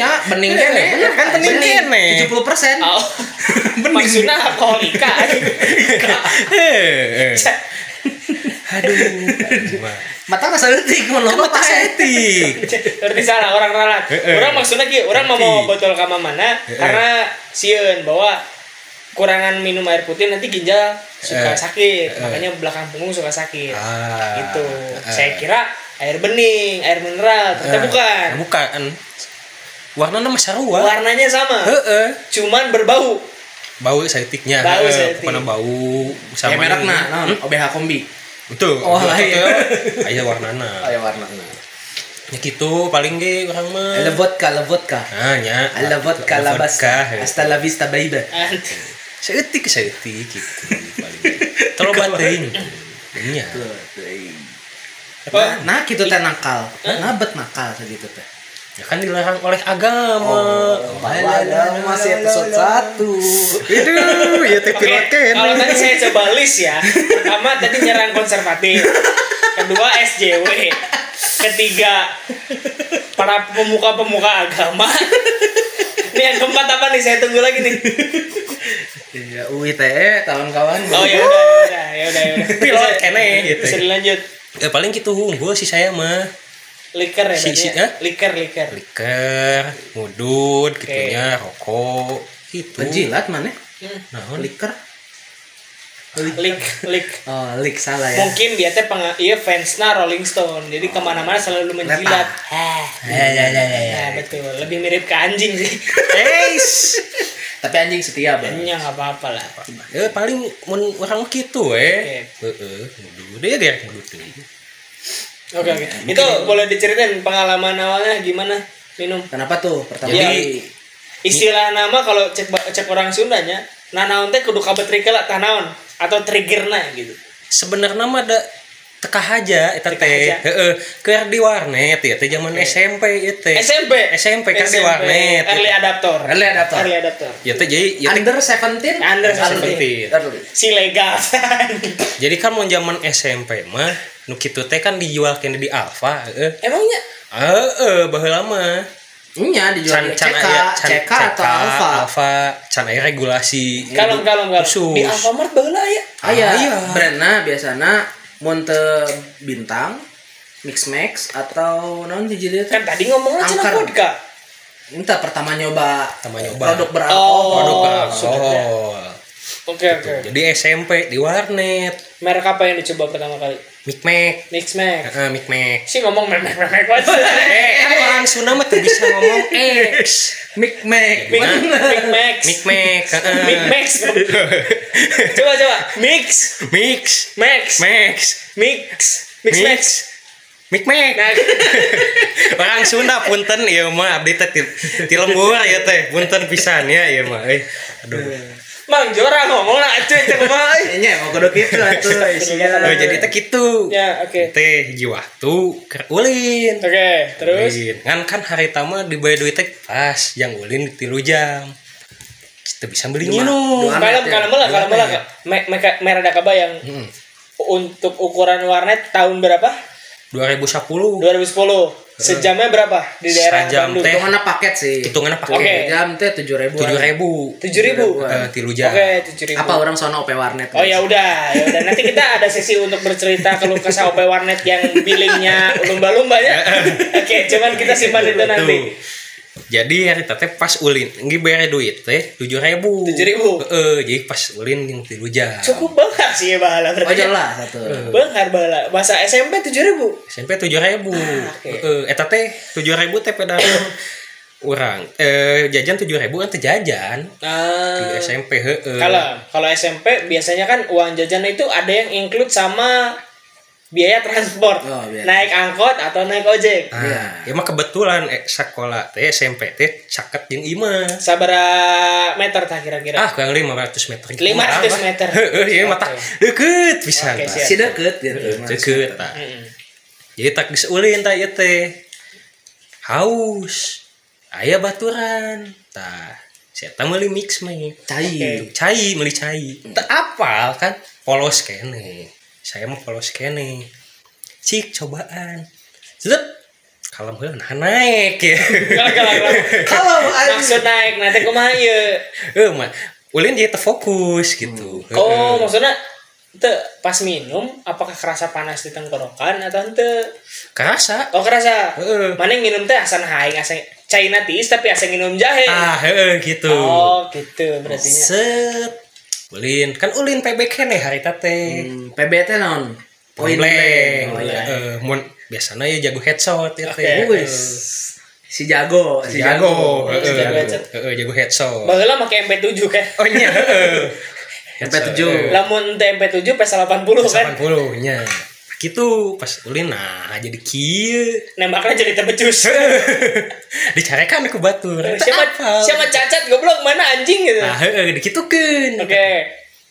B: Ya bening kene.
D: bener kan, bening kene.
B: 70%.
A: Oh, maksudnya alkoholika.
D: Eh. Aduh.
B: Kan Mata rasa leutik mun loba
D: Mata
B: teh.
D: seutik.
A: Berarti salah orang ralat.
D: Heeh.
A: Orang maksudnya kieu, orang mau mau botol kama mana?
D: Eh,
A: Karena sieun bahwa kurangan minum air putih nanti ginjal suka
D: Eh.
A: sakit, makanya belakang punggung suka sakit.
D: Ah.
A: Gitu. Saya kira air bening, air mineral,
D: Eh.
A: ternyata bukan.
D: Bukan. Warnanya mah sarua.
A: Warnanya sama.
D: Heeh.
A: cuman berbau
D: Bau seutiknya.
A: Bau
D: Heeh,
A: seutik.
D: pokona bau
B: Ya
D: sama.
B: merekna
D: ini.
B: naon? OBH kombi.
D: Betul.
B: Oh, lain.
D: Aya warnana.
B: Aya warna.
D: Ya gitu paling ge urang mah.
B: Ada Eh, vodka, ada vodka.
D: Nah, nya.
B: Ala vodka la basta.
D: ya.
B: Hasta la vista baby.
D: Seutik seutik gitu paling. Terobat teuing. Iya.
B: Nah, nah gitu teh nakal. Nah, bet nakal segitu teh.
D: Ya kan dilarang oleh agama.
B: Oh, Padahal masih episode 1.
D: Aduh, ya teh
A: Oke, kalau tadi saya coba list ya. Pertama tadi nyerang konservatif. Kedua SJW. Ketiga para pemuka-pemuka agama. Ini yang keempat apa nih? Saya tunggu lagi nih.
B: Iya, UITE tahun kawan.
A: Oh ya udah, ya udah, ya udah. ya udah.
D: Pilot kene, gitu.
A: Bisa dilanjut.
D: Ya paling gitu unggul sih saya mah.
A: Liker ya
D: Si-
A: tadi.
D: si-
A: ya?
D: eh?
A: Liker, liker.
D: Liker, ngudut,
A: Oke.
D: gitunya, rokok, gitu. oh,
B: Penjilat mana?
A: Hmm.
D: Naon?
B: Liker.
A: Lik, lik.
B: Oh, lik salah ya.
A: Mungkin dia teh peng, iya fansnya Rolling Stone. Jadi kemana-mana selalu menjilat.
B: Ya ya ya ya.
A: Nah, betul. Lebih mirip ke anjing sih.
D: Eis.
B: Tapi anjing setia, Bang.
A: Ya nggak apa-apa lah.
D: Ya Eh, paling mun orang mah gitu eh. Heeh, ngudut ya dia ngudut. deui.
A: Oke oke. Itu boleh diceritain pengalaman awalnya gimana minum?
B: Kenapa tuh? Pertama
A: Iya.
B: kali
A: Istilah nama kalau cek ba- cek orang Sundanya, nanaon teh kudu kabetrike lah tanaon atau triggerna gitu.
D: Sebenarnya mah ada tekah aja eta
A: Tekah
D: teh.
A: aja.
D: Heeh, keur di warnet ya teh zaman SMP ieu teh.
A: SMP.
D: SMP kan di
A: SMP,
D: warnet.
A: Early adapter.
B: Early adapter.
A: Early adapter.
D: Ya teh jadi ya teh
B: under 17,
A: Under
D: 17.
B: Early.
A: Si legal.
D: Jadi kan mau zaman SMP mah nu kitu teh kan dijual kene di Alfa, heeh.
A: Emangnya
D: Heeh, baheula mah.
B: Iya, dijual di CK,
D: aya- can-
B: CK atau Alfa.
D: Alfa, can aya regulasi.
A: kalem kalem kalem.
D: Iya, Khusus.
A: Di Alfamart baheula ya.
B: Aya,
D: Aya.
B: brandna biasana iya. Monte Bintang, Mix Max atau naon hiji deui teh?
A: Kan tadi ngomongnya cina
B: Angker.
A: vodka.
B: Entah pertama nyoba
D: Pertama nyoba.
B: produk beralkohol.
A: Oh,
D: Produk
A: sudah.
D: alkohol.
A: Oke oke.
D: Oh. Jadi SMP di warnet,
A: Merek apa yang dicoba pertama kali?
D: mikmek.
A: Mix Max.
D: Heeh, mikmek.
A: Si ngomong memek memek wae.
D: Eh, kan orang Sunda mah tuh bisa ngomong X.
B: Mix Max.
A: Mix Mix Max.
D: Mikmek.
A: Mix
D: heeh.
A: Max. coba coba. Mix
D: Mix.
A: Max.
D: Max.
A: Mix Mix Mix Max.
C: Mikmek.
A: Nah,
D: orang Sunda punten iya, ieu mah abdi teh til- tilembur ieu teh punten pisan ya ieu mah euy aduh
A: Eh. Mang Jora ngomong lah cuy cek mah. eh.
B: Kayaknya emang kudu gitu atuh isinya.
D: Oh, jadi teh kitu
A: Ya, oke.
D: teh hiji waktu keur ulin
A: Oke, terus
D: Ulin. kan kan hari tama dibayar duit teh pas yang ulin tilu jam kita bisa beli minum
B: dua-
A: kalem
B: ya.
A: kalem lah, kalem lah. Me- meka- Merah Dakaba yang untuk ukuran warnet tahun berapa?
D: 2010
A: 2010. Sejamnya berapa di daerah
D: Sejam
A: Bandung?
D: teh.
B: Hitungannya paket sih.
D: hitungannya pakai
A: Oke.
B: Jam teh 7000.
D: tujuh ribu
A: Tujuh ribu.
D: Eh, tilu jam
A: Oke, tujuh ribu.
B: Apa orang sono OP warnet?
A: Oh ya udah, ya udah nanti kita ada sesi untuk bercerita keluh kesah OP warnet yang billingnya lumba-lumba ya. Oke, cuman kita simpan itu nanti.
D: Tuh. Jadi hari tete pas ulin, nggih bayar duit teh tujuh ribu.
A: 7.000.
D: jadi pas ulin yang tilu jam.
A: Cukup banget sih ya bahala
B: Oh
A: berarti.
B: jelas satu.
A: Benghar bala. Bahasa SMP 7000.
D: SMP tujuh ribu.
A: Ah,
D: Eh eta teh tujuh ribu teh pedang orang. Eh jajan tujuh ribu kan teh jajan di
A: Ah.
D: SMP heeh.
A: Kalau kalau SMP biasanya kan uang jajan itu ada yang include sama biaya transport.
B: Oh, biaya.
A: Naik angkot atau naik ojek.
D: Nah, emang kebetulan eh, sekolah teh SMP teh caket jeung imah.
A: Sabara meter tah kira-kira?
D: Ah, kurang 500 meter.
A: 500 Ya. meter.
D: Heeh, ieu mah tah deukeut pisan.
A: Oke,
D: tah.
A: siap.
B: Si deket gitu.
D: Iya, Deukeut tah.
A: Mm-mm.
D: jadi tak diseulin tak ieu teh haus ayah baturan tah saya tak beli mix meh
B: Cai.
D: cai beli cai tak apal kan polos kene saya mau polos kene cik cobaan zep kalau gue nah naik ya
A: Kalau kalau
B: Kalau
A: maksud naik nanti iya. kumaha ieu?
D: eh mah ulin jadi terfokus gitu
A: Oh, maksudnya te, pas minum apakah kerasa panas di tenggorokan nah, atau ente?
D: kerasa
A: Oh kerasa.
D: Heeh.
A: Mana minum teh asan haing asan China tis tapi asan minum jahe.
D: ah heeh gitu
A: Oh gitu berarti.
D: set ulin kan ulin PBK nih hari tate
A: Hmm.
B: Hmm, PBT non.
D: poin blank.
B: Oh iya.
D: Eh, mun biasanya ya jago headshot ya teh.
A: Oke.
B: Wis. eh, Si jago, si
D: Jago,
B: jago.
D: eh,
A: Jago
D: jago.
A: headshot.
D: Eh, eh, jago headshot.
A: Baheula make MP7 kan.
D: Oh nya. heeh.
B: MP7.
A: Lamun ente MP7 PS 80 kan.
D: 80 nya. Gitu pas ulin nah jadi kieu.
A: Nembaknya jadi tebecus.
D: Dicarekan ke batur.
A: siapa siapa cacat goblok mana anjing gitu.
D: Nah, heeh dikitukeun.
A: Oke.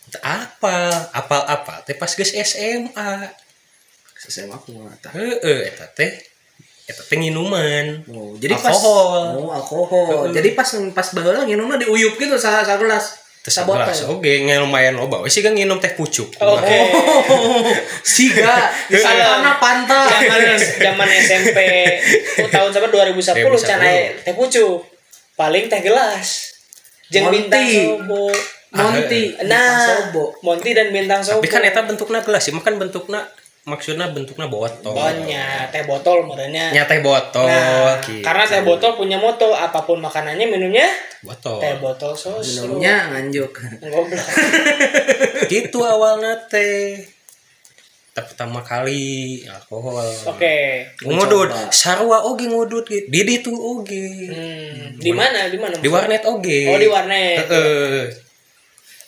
D: Teu Apal, apal-apal teh pas geus SMA.
B: Saya mah aku mau nata.
D: Heeh eta teh eta teh minuman.
B: Oh, jadi
D: Alkohol.
B: pas oh, alkohol. Jadi pas pas baheula nginumna diuyup gitu sa sa gelas.
D: Terus gelas oge ngan lumayan loba. Wes sih kan nginum teh pucuk.
A: Oke.
B: Oh, siga di
A: Kalau-
B: sana pantai.
A: Zaman zaman SMP oh, tahun sama 2010
D: 2010.
A: can aya teh pucuk. Paling teh gelas. Jeung
B: Monty.
A: bintang sobo.
B: Monti,
A: Nah,
B: sobo.
A: Monty dan bintang sobo.
D: Tapi kan eta bentukna gelas, ya kan bentukna maksudnya bentukna botol.
A: Bonya, teh botol merenya.
D: Nya teh botol
A: Nah,
D: gitu.
A: karena teh botol punya moto, apapun makanannya minumnya
D: botol.
A: teh botol sos.
B: Minumnya nganjuk.
A: Goblok.
D: Gitu awalnya teh. Teh pertama kali alkohol.
A: Oke.
D: Ngudut, sarua oge ngudut gitu. Didi tuh oge.
A: Hmm, di mana? Di mana?
D: Di warnet oge.
A: Oh, di warnet.
D: Heeh.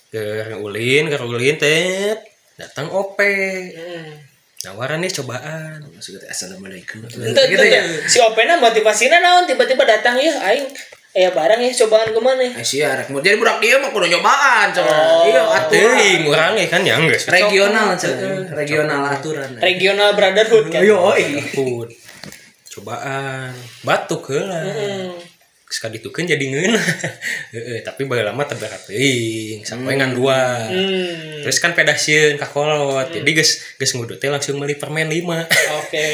D: Keur Eh, ulin, keur ulin teh. Datang OP.
A: Hmm.
D: Nawaran nih cobaan.
B: Masuk ke assalamualaikum.
A: Ente,
B: Gitu
A: ente.
B: ya.
A: Si Opena motivasinya naon tiba-tiba datang ya aing eh barang ya cobaan kemana
B: Eh, sih ya, rek. Jadi budak dia mah kudu nyobaan, coba. Iya, aturan.
D: Teuing urang ge kan ya geus.
B: Regional, coba. Regional aturan. eh.
A: regional brotherhood kan
B: Yo,
D: Takut. Cobaan. Batuk heula. sekali itu kan jadi ngeuna Heeh, tapi bae lama teberat teuing sampai ngan dua
A: hmm
D: terus kan pedasiun ka kolot jadi geus geus ngudut teh langsung beli permen lima
A: oke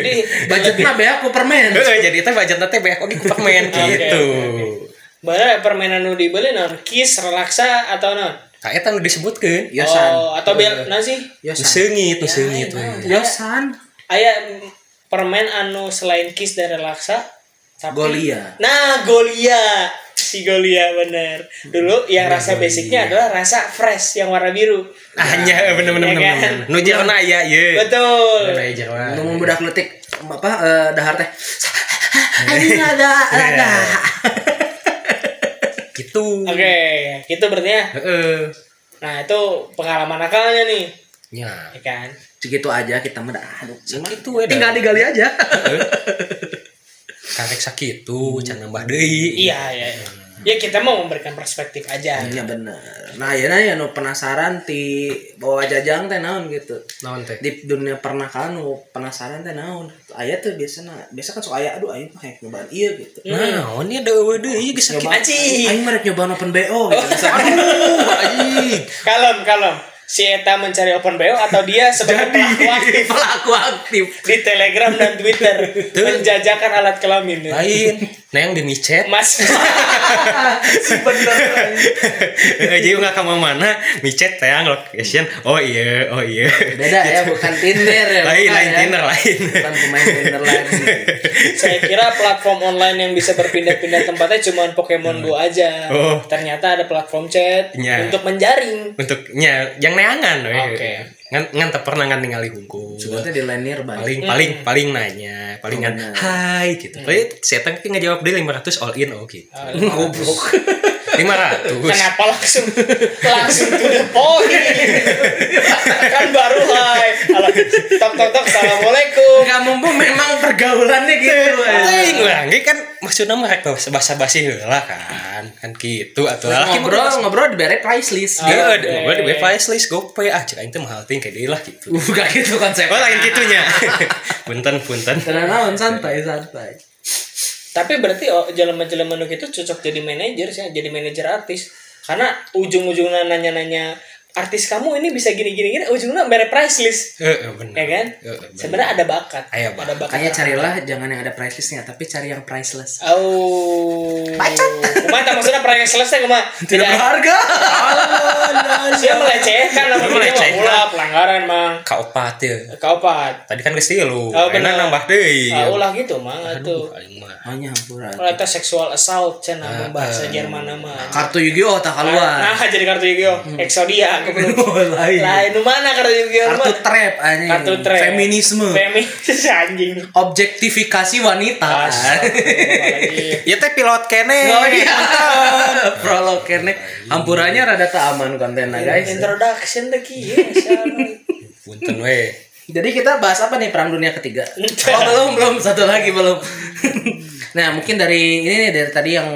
A: jadi
B: Budgetnya be aku permen.
D: Heeh, jadi teh budgetna teh banyak oge ku permen gitu
A: barang permainan nu dibeli naon kiss relaksa atau naon
D: ka eta nu disebutkeun
B: Yosan.
A: oh atau bel naon sih
D: nu
B: Yosan.
D: seungit nu seungit we.
B: Yosan.
A: aya permen anu selain kiss dan relaksa tapi-
B: Golia.
A: nah golia si golia bener dulu yang rasa basicnya adalah rasa fresh yang warna biru
D: hanya Ah, bener bener
A: Ya
D: bener,
A: kan?
D: bener. nu jerona ya ye
A: betul
D: Jerona jerona.
B: Ngomong budak letik apa eh, dahar teh. Anjing ada ada.
D: gitu
A: oke itu berarti ya
D: heeh
A: Nah itu pengalaman akalnya nih,
D: nya
A: ya kan?
B: segitu aja kita mah dah. aduh cuma
D: Sakitu we, dah.
B: tinggal digali aja
D: karek sakitu can nambah deui
A: Iya, iya. iya. Ya kita mau memberikan perspektif aja.
B: Iya bener. Nah ya nah, ya nu penasaran ti bawa jajang teh naon gitu.
D: naon teh
B: Di dunia pernikahan nu penasaran teh naon. Aya tuh biasana biasa kan sok aya aduh aing mah kayak nyobaan ieu gitu.
D: naon ya deui deui geus sakit
B: Nyobaan-
A: Aci.
B: Aing mah rek nyobaan open BO gitu. Misalkan,
D: anjing
A: Kalem, kalem. Si Eta mencari open BO atau dia sebagai pelaku aktif
B: Pelaku aktif.
A: di Telegram dan Twitter menjajakan alat kelamin.
D: lain nah yang demi chat
A: Mas,
B: Si bener.
D: jadi nggak kamu mana micet teh location oh iya oh iya
B: Beda ya bukan Tinder ya.
D: lain
B: bukan
D: lain
B: ya.
D: Tinder lain
B: Bukan pemain Tinder lagi.
A: saya kira platform online yang bisa berpindah-pindah tempatnya cuma Pokemon Go aja.
D: Oh.
A: Ternyata ada platform chat
D: Iya.
A: untuk menjaring.
D: untuknya yang neangan we.
A: Oke.
D: ngan ngan teu pernah ngan ningali hukum
B: Sebutnya di Lenir bang.
D: paling paling paling nanya paling kan
B: Benar.
D: hai gitu paling saya tanya nggak jawab dia 500 all in oh gitu
A: Ah,
B: Goblok.
D: 500
A: Kenapa langsung langsung to the point? kan baru live. Alah, tok tok tok. Assalamualaikum.
B: Enggak mumpung memang pergaulannya gitu. eh.
D: Ting lah, ini kan maksudnya mereka bahasa basi lah kan, kan gitu atau lah
B: ngobrol ngobrol di bere price list gitu.
A: Ah. Oke.
D: Iya, ada ngobrol di website list gope ah cek aing teh mahal ting kayak dia lah gitu.
B: bukan gitu konsep
D: Oh lain gitunya. punten punten. Eh,
B: tenang santai santai
A: Tapi berarti oh, jelema-jelema nu itu cocok jadi manajer sih, jadi manajer artis. Karena ujung-ujungnya nanya-nanya artis kamu ini bisa gini-gini gini, ujungnya mere price list,
D: Heeh, eh, bener.
A: ya kan?
D: Heeh, bener.
A: Sebenarnya ada bakat.
D: Aya
A: Ada
D: bakat.
A: bakat.
B: makanya carilah jangan yang ada price listnya tapi cari yang priceless
A: Oh, kumaha tak maksudnya price list teh kumaha? Tidak.
B: berharga
A: Dia melecehkan namanya
D: Melecehkan.
A: melecehkan. Ulah pelanggaran mang.
D: Kaopat ya.
A: Kaopat.
D: Tadi kan geus lu.
A: Oh, bener.
D: Enak nambah deui.
A: Ah,
B: Iya.
A: ulah gitu mah
D: Aduh,
A: tuh.
D: aing mah.
B: oh nyampura
A: Kalau itu seksual assault cenah
B: Ah.
A: uh, bahasa Jerman nama.
B: kartu Yu-Gi-Oh tak keluar
A: Nah, jadi kartu Yu-Gi-Oh.
B: Hmm.
A: Exodia aku belum.
B: Oh, lain
A: Lain nu mana kartu Yu-Gi-Oh?
B: Iya. kartu
A: mah?
B: trap anjing
A: kartu trap.
B: feminisme
A: Feminis anjing.
B: objektifikasi wanita
A: Astagfirullahaladzim.
D: Ya teh pilot kene.
B: Oh iya, prolog kene hampurannya rada tak aman kontennya guys.
A: Introduction teh kieu. saran.
D: Punten we.
B: Jadi kita bahas apa nih perang dunia ketiga?
A: Entah.
B: Oh, belum belum satu lagi belum. nah mungkin dari ini nih dari tadi yang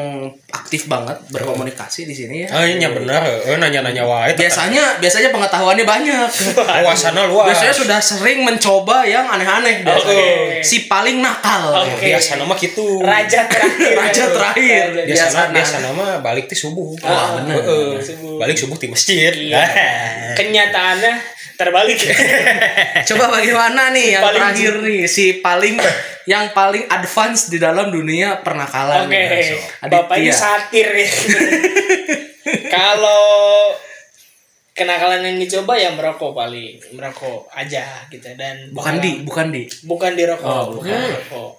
B: aktif banget berkomunikasi di sini ya.
D: Ah iya bener. Eh nanya-nanya wae.
B: Biasanya biasanya pengetahuannya banyak.
D: Wawasanna luas.
B: biasanya sudah sering mencoba yang aneh-aneh biasanya.
A: Oke.
B: Si paling nakal.
A: Oke.
D: Biasanya mah gitu.
A: Raja terakhir.
B: Raja terakhir.
A: Raja
D: biasa
B: Biasana.
D: nama- biasa nama balik ti subuh
A: Ah, bener.
D: Heeh.
A: Subuh.
D: balik subuh ti masjid
A: terakhir. Kenyataannya terbalik.
B: Eh, Coba bagaimana nih yang
A: Paling-
B: terakhir nih si paling yang paling advance di dalam dunia pernakalan.
A: Oke,
B: nih, Raso.
A: bapak ini
B: Aditya.
A: satir ya. Kalau kenakalan yang dicoba ya merokok paling merokok aja gitu dan
B: bukan di, bukan di.
A: bukan di rokok,
B: Oh,
A: bukan di rokok.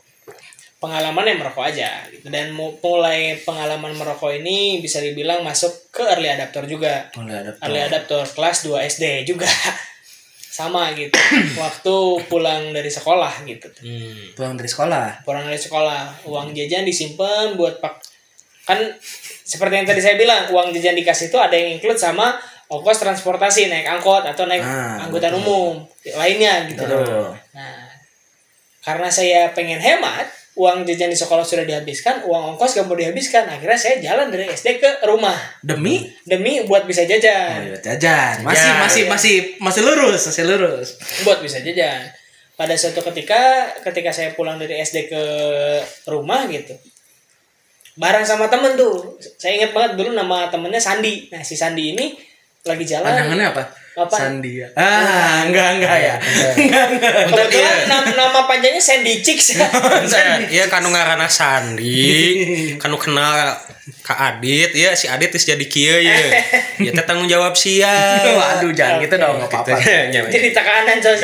A: Pengalaman yang merokok aja gitu. dan mu- mulai pengalaman merokok ini bisa dibilang masuk ke early adapter juga.
B: Mulai Oh, ada
A: Early adapter kelas 2 SD juga. Sama gitu. Waktu pulang dari sekolah gitu. Hmm.
B: pulang dari sekolah.
A: pulang dari sekolah uang jajan disimpan buat pak kan seperti yang tadi saya bilang uang jajan dikasih itu ada yang include sama ongkos transportasi naik angkot atau naik
B: Ah,
A: angkutan umum lainnya gitu
B: Betul.
A: nah karena saya pengen hemat uang jajan di sekolah sudah dihabiskan uang ongkos gak mau dihabiskan akhirnya saya jalan dari SD ke rumah
B: Demi
A: demi buat bisa jajan
B: Ayo jajan. Masih
D: Jajan.
B: masih masih masih lurus, masih lurus.
A: buat bisa jajan. Pada suatu ketika, ketika saya pulang dari SD ke rumah gitu, bareng sama temen tuh, saya ingat banget dulu nama temennya Sandi. Nah si Sandi ini lagi jalan.
B: Pandangannya apa?
A: Apa?
B: Sandi ya. Ah, enggak enggak ya. Enggak enggak.
A: Kebetulan nam- nama, panjangnya Sandy Chicks.
D: ya kanu ngarana Sandi kanu kenal Kak Adit ya si Adit is jadi kieu ya ya teh tanggung jawab sia
B: Waduh, jangan gitu dong, enggak
D: Gitu.
B: apa-apa.
D: Nya,
A: Jadi tekanan coy.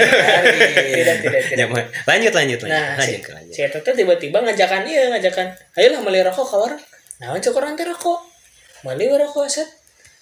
A: tidak tidak
D: nya,
A: tidak.
D: nya. lanjut lanjut lanjut
A: Nah si,
D: lanjut lanjut
A: si Eta tuh tiba-tiba ngajakan iya ngajakan, ayolah beli rokok ke warung. Nah cukup nanti rokok, beli rokok set.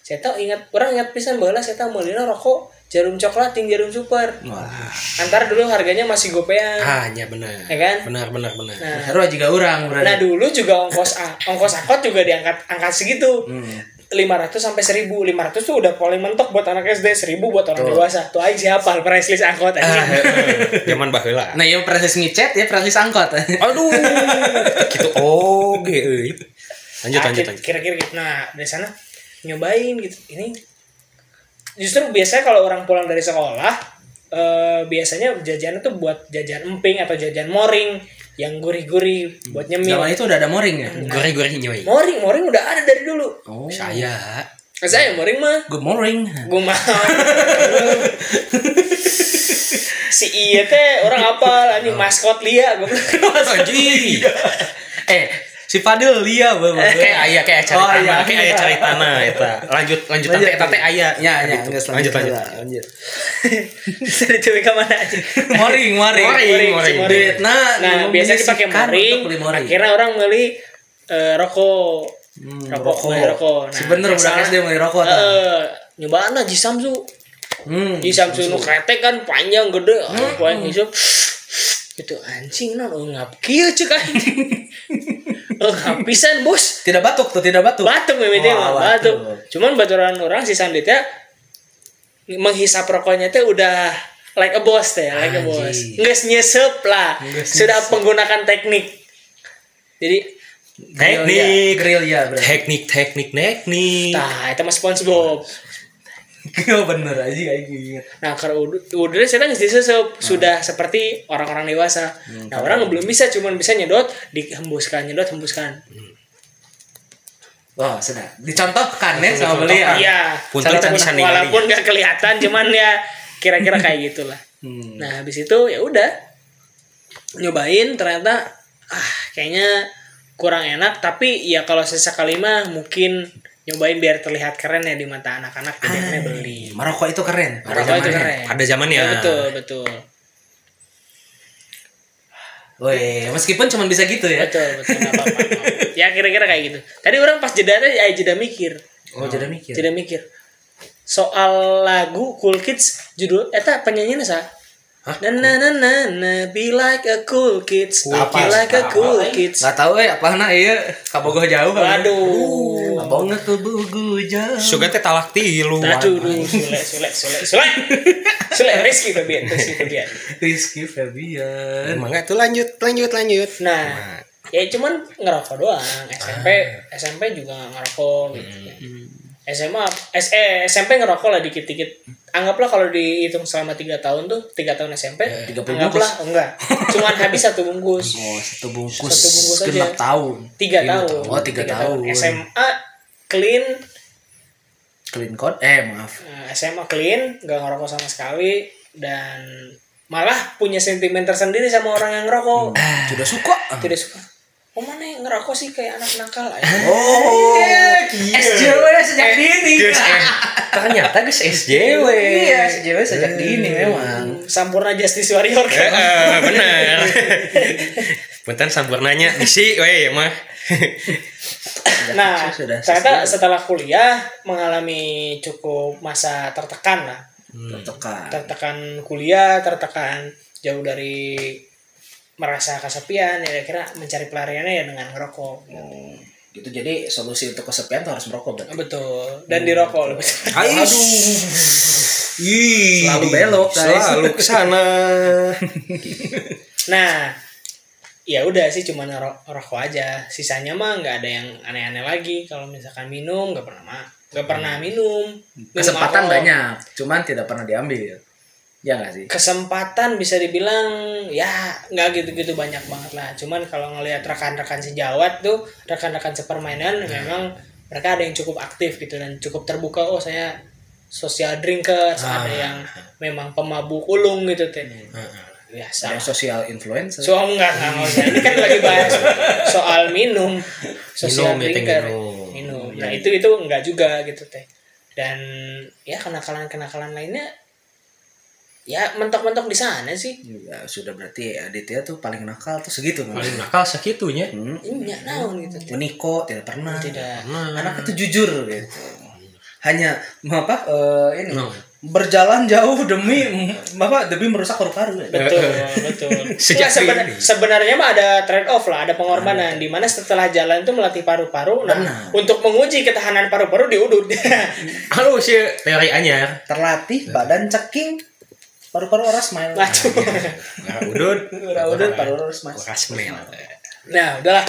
A: Saya tahu ingat orang ingat pisan bahwa saya tahu beli rokok jarum coklat ting jarum super.
B: Wah,
A: Antar dulu harganya masih gopean.
D: ah nya benar
A: Ya kan?
D: benar benar benar
A: Nah,
B: baru aja orang
A: nah
B: berarti.
A: dulu juga ongkos a- ongkos angkot juga diangkat angkat segitu.
B: Hmm.
A: 500 sampai 1000. 500 tuh udah paling mentok buat anak SD, 1000 buat orang
B: Tuh.
A: dewasa. Tuh aing siapa price list angkot
D: Ah,
A: anjing.
D: zaman baheula.
B: Nah, ya proses ngicet ya proses angkot.
D: Aduh, gitu oge euy. Lanjut
A: Nah,
D: lanjut
A: kira-
D: lanjut.
A: Kira-kira gitu. Nah, dari sana nyobain gitu. Ini justru biasanya kalau orang pulang dari sekolah eh, biasanya jajanan tuh buat jajan emping atau jajan moring yang gurih-gurih buat
B: Zaman
A: nyemil.
B: itu udah ada moring ya.
D: Goreng-goreng nyoy.
A: Moring, moring udah ada dari dulu.
B: Oh,
D: Saya
A: Saya moring mah
B: good morning.
A: gue mah si iya teh orang apa anjing maskot lia gue
D: anjing.
B: Eh, si Fadil Lia bapak.
D: Eh, Kayak ayah kayak cari
B: Oh, iya,
D: tanah, kayak
B: iya.
D: ayah cari tanah eta. Lanjut lanjut
B: Lanjut,
D: tante eta teh aya.
B: Ya, ya,
D: Gitu.
B: enggak
D: Lanjut lanjut.
B: lanjut.
A: dari TWK mana aja
B: Moring, moring.
A: Moring,
D: moring.
A: moring.
B: Duit nah,
A: nah biasanya dipakai moring akhirnya orang beli eh, rokok rokok
B: Hmm, rokok.
A: beli rokok nah,
B: Sebener
A: yang
B: udah
A: salah-
B: SD mulai rokok
A: Eh,
B: tuh.
A: eh, nyobaan lah ji samsu
B: Hmm.
A: ji samsu nu kretek kan panjang gede hmm. poin hijau itu anjing non ngap kieu cek anjing ngap pisan bos
B: Tidak batuk tuh, tidak batuk.
A: batuk mimiti
B: Wah,
A: mah
B: batuk.
A: batuk cuman baturan orang si Sandi teh menghisap rokoknya teh udah like a boss teh like a boss
B: Anjing.
A: nggak nyesep lah
B: Nges
A: sudah menggunakan teknik jadi
D: Teknik.
B: grill ya, bro.
D: Teknik teknik teknik.
A: tah itu mah SpongeBob
B: Grill bener aja kayak gitu.
A: nah kalau udah udah saya nggak
B: Ah.
A: disesep sudah seperti orang-orang dewasa
B: Hmm,
A: nah orang belum bisa cuman bisa nyedot dihembuskan nyedot hembuskan
B: Wah, sedap. Dicontohkan ya sama beliau.
A: iya
D: Punten
A: cara-
D: tapi sandingan
A: walaupun nggak kelihatan cuman ya kira-kira kayak gitulah
B: Hmm.
A: Nah, habis itu ya udah nyobain ternyata ah kayaknya kurang enak tapi ya kalau sesekali mah mungkin nyobain biar terlihat keren ya di mata anak-anak jadi akhirnya beli.
B: Merokok itu keren.
A: Merokok itu keren.
D: Ah. Pada zamannya.
A: Ya, betul, betul.
B: Weh, meskipun cuma bisa gitu ya.
A: Betul, betul. nggak apa-apa. ya kira-kira kayak gitu. Tadi orang pas jeda tadi ay, jeda mikir.
D: Nah.
B: Oh, jadi mikir.
A: Jeda mikir. Soal lagu Cool Kids judul eta penyanyinya sa Na na na na na be like a cool kids, be
B: Apa?
A: like a cool kids.
B: Gak tau ya, apa nah iya kabogoh jauh.
A: Waduh.
B: Abang kebogoh jauh.
D: Suga teh talak tilu.
A: Aduh, aduh, sulek, sulek, sulek, sulek, sulek, Rizky Febian, Rizky Febian.
B: Rizky Febian.
D: Emang itu lanjut lanjut lanjut.
A: Nah, ya cuman ngerokok doang. SMP, SMP juga nggak ngerokok gitu. kan. SMA, S- eh, SMP ngerokok lah dikit-dikit. Anggaplah kalau dihitung selama tiga tahun tuh, Eh, tiga tahun SMP,
B: 30
A: anggaplah enggak. Cuman habis satu bungkus.
B: Oh, satu bungkus.
A: Satu bungkus aja.
B: genap tahun.
A: Tiga
B: Lima
A: tahun.
B: Oh, tiga, tahun.
A: SMA clean,
B: Clean code. Eh, maaf.
A: eh, SMA clean, nggak ngerokok sama sekali dan malah punya sentimen tersendiri sama orang yang ngerokok.
B: Sudah suka.
A: tidak suka oh mana yang ngerokok sih kayak anak nakal aja
B: Oh.
A: Eh,
B: SJW sejak dini.
D: Ternyata guys SJW.
B: Iya, SJW
A: Eh.
B: sejak dini memang.
A: sampurna justice warrior
D: Eh,
A: kan
D: eh, bener. Bentar sampurnanya isi weh mah.
A: nah
B: Sudah, sudah.
A: ternyata setelah kuliah mengalami cukup masa tertekan lah
B: Hmm, Tertekan.
A: tertekan kuliah tertekan jauh dari merasa kesepian ya kira mencari pelariannya ya dengan ngerokok
B: Oh, Gitu jadi solusi untuk kesepian tuh harus merokok berarti.
A: betul dan
B: Hmm,
A: dirokok lebih
D: Ais. Ih.
B: Selalu belok, guys.
D: Selalu ke sana.
A: nah ya udah sih cuma ngerokok rokok aja sisanya mah nggak ada yang aneh-aneh lagi kalau misalkan minum nggak pernah mah nggak pernah minum Minum
B: Hmm. Kesempatan
A: alkohol.
B: banyak, cuman tidak pernah diambil. Ya nggak sih?
A: kesempatan bisa dibilang ya nggak gitu-gitu banyak banget lah cuman kalau ngelihat rekan-rekan sejawat tuh rekan-rekan sepermainan memang mereka ada yang cukup aktif gitu dan cukup terbuka oh saya social drinkers ada yang memang pemabuk ulung gitu teh
D: Hmm.
A: Ya,
B: Ada
A: biasa
B: yang social influencer.
A: so enggak enggak nggak usah. ini kan lagi bahas soal minum social
D: Minum, ya, teh,
A: drinker
D: minum. Iya,
A: minum nah itu itu enggak juga gitu teh dan ya kenakalan kenakalan lainnya ya mentok-mentok di sana sih
B: Ya, sudah berarti Aditya tuh paling nakal tuh segitu memang.
D: Paling nakal sakitunya.
B: Hmm.
A: ini nggak naon gitu teh
B: Meniko tidak pernah.
A: tidak
B: Anak itu jujur gitu. hanya apa eh, ini
D: No.
B: berjalan jauh demi bapak demi merusak paru-paru ya.
A: betul betul Nggak,
D: Sejak
A: seben-
D: ini. Nah.
A: sebenarnya mah ada trade off lah ada pengorbanan di mana setelah jalan itu melatih paru-paru nah,
B: Benar.
A: untuk menguji ketahanan paru-paru diudut
D: Halo si teori anyar.
B: terlatih badan ceking paru-paru orang smile
A: Lacu.
D: Nah, udut.
B: Ura udut, paru-paru smile
D: Uras mel.
A: nah udahlah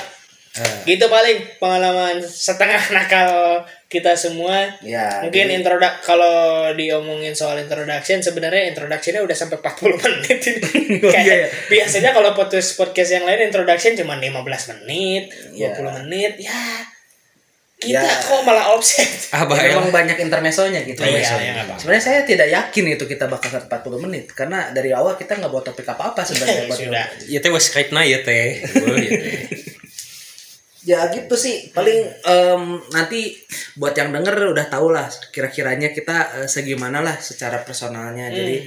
B: Eh.
A: gitu paling pengalaman setengah nakal kita semua
B: ya
A: mungkin introdak kalau diomongin soal introduction sebenarnya introductionnya udah sampai 40 menit ini. Kayak
B: Iya, iya.
A: biasanya kalau podcast podcast yang lain introduction cuma 15 menit 20
B: Iya.
A: menit ya kita
B: Ya.
A: kok malah offset
D: Ah,
B: Ya,
D: bahaya.
B: memang banyak intermesonya gitu.
A: Iya,
B: Intermeso.
A: iya, nggak apa-apa.
B: sebenarnya saya tidak yakin itu kita bakal 40 menit karena dari awal kita nggak bawa topik apa-apa sebenarnya. buat-
A: sudah
D: Ya teh was kait ya teh. Eueuh,
A: iya,
D: ya, teh.
B: Ya gitu sih. Paling em, nanti buat yang denger udah tau lah kira-kiranya kita eh, segimana lah secara
A: Hmm.
B: personalnya. Jadi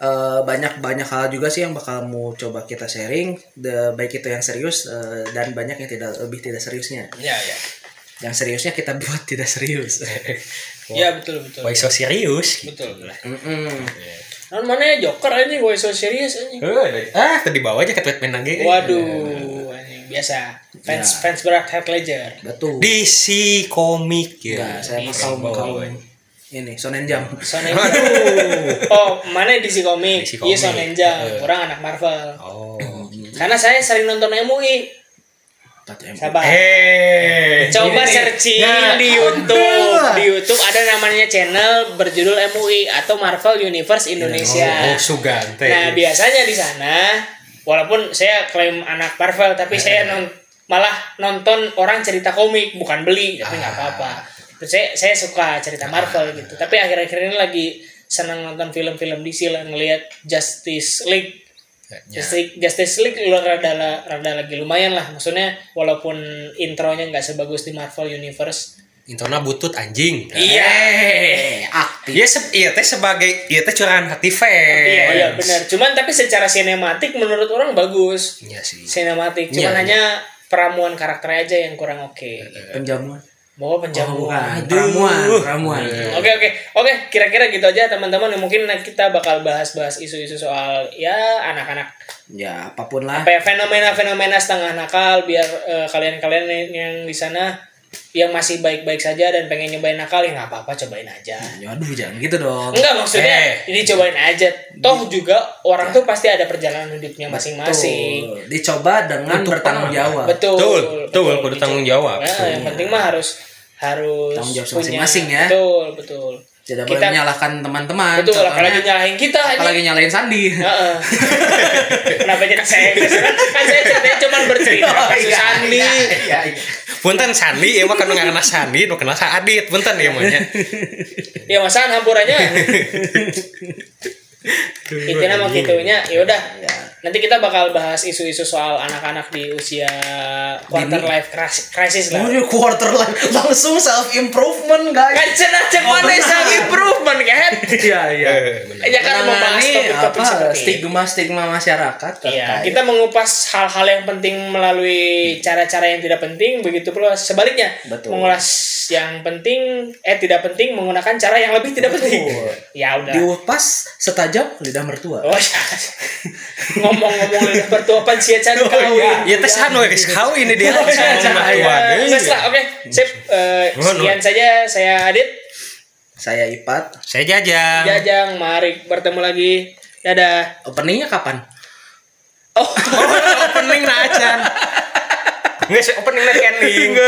B: eh, banyak-banyak hal juga sih yang bakal mau coba kita sharing, The- baik itu yang serius eh, dan banyak yang tidak lebih tidak seriusnya.
A: ya ya
B: Yang seriusnya kita buat tidak serius.
A: ya betul betul
D: Why so serius?
A: betul lah
B: Mm-mm.
A: non mana ya joker aja gue so serius aja
D: Eh, ah, tadi bawah aja ke treatment lagi.
A: waduh anjing, biasa fans fans berat head ledger
B: Betul.
D: DC komik
B: Nah,
D: ya.
B: saya mah kaum kaum ini Sonen Jam.
A: Shonen Jump. oh, mana DC Comics? Iya
D: DC Comics.
A: Shonen Jump, kurang anak Marvel.
D: Oh.
A: Karena saya sering nonton MUI. Sabar.
D: Eh.
A: Coba searching di YouTube. Di YouTube ada namanya channel berjudul MUI atau Marvel Universe Indonesia.
D: Oh, oh, Sugante.
A: Nah, biasanya di sana walaupun saya klaim anak Marvel tapi saya non- malah nonton orang cerita komik bukan beli tapi nggak apa-apa. Terus Saya saya suka cerita Marvel gitu. Tapi akhir-akhir ini lagi senang nonton film-film DC lah ngelihat Justice League.
D: Ya.
A: Justice League, Justice League lu rada, rada lagi lumayan lah maksudnya walaupun intronya nggak sebagus di Marvel Universe.
D: Intona butut anjing.
A: Iya.
B: Eh, aktif.
D: Iya, se- iya teh sebagai iya teh curahan hati fans.
A: Iya, iya benar. Cuman tapi secara sinematik menurut orang bagus.
D: Iya sih.
A: sinematik cuman
D: Iya,
A: hanya peramuan karakter aja yang kurang oke
B: Penjamuan.
A: bawa
B: Iya, Oh,
A: penjamuan Eh.
B: bukan. Ramuan, ramuan.
A: oke oke oke kira-kira gitu aja teman-teman mungkin kita bakal bahas-bahas isu-isu soal ya anak-anak
B: Ya, apapun lah.
A: apa ya, fenomena-fenomena setengah nakal biar eh, kalian-kalian yang- yang di sana yang masih baik-baik saja dan pengen nyobain nakal ya nggak apa-apa cobain aja
B: Ya, aduh jangan gitu dong.
A: Enggak maksudnya
D: Eh.
A: ini cobain aja toh juga orang tuh pasti ada perjalanan hidupnya masing-masing
B: Betul. Dicoba dengan bertanggung jawab.
A: betul
D: Ah, Betul, betul, kudu tanggung jawab. Iya.
A: Nah, yang penting mah harus harus
B: Tanggung jawab
A: punya-
B: masing-masing ya.
A: betul betul
B: Tidak boleh
A: kita
B: menyalahkan teman-teman.
A: betul
B: contohnya,
A: apalagi nyalahin kita ini. Iya,
B: apalagi nyalain Sandi.
A: Heeh. kenapa jadi saya yang kesana? kan saya ceritanya cuma bercerita kasus Sandi
B: Oh, Iya, iya.
D: Punten Sandi, ya mah kan karena Sandi, nu kenal Saadit, punten ya mah nya.
A: ya masalah hampurannya intinya
B: Iya.
A: mah gitunya ya udah
B: Ya.
A: nanti kita bakal bahas isu-isu soal anak-anak di usia quarter life crisis, crisis lah
B: Oh, quarter life langsung self improvement, guys.
A: kan cenah cek mana
B: Oh, benar.
A: self improvement kan
B: Iya, iya.
A: ya kan membahas
B: Menangani
A: topik-topik
B: apa
A: seperti itu.
B: stigma-stigma masyarakat
A: Iya,
B: terkait-
A: kita mengupas hal-hal yang penting melalui cara-cara yang tidak penting, begitu pula sebaliknya
B: Betul.
A: mengulas yang penting eh tidak penting menggunakan cara yang lebih tidak penting. Ya udah.
B: diupas setajam lidah mertua.
A: Oh, ya. ngomong-ngomong lidah bertua pan sia can kawin.
D: Iya teh sanu geus kawin ini dia.
A: Ya, ya,
D: iya,
A: ya. Nges lah, oke. Sip. Eh,
D: Nuhun,
A: sekian saja saya Adit.
B: Saya Ipat.
D: Saya jajang.
A: Jajang, mari bertemu lagi. Dadah.
B: Openingnya kapan?
A: Oh.
D: Opening na acan. Geus opening na ending.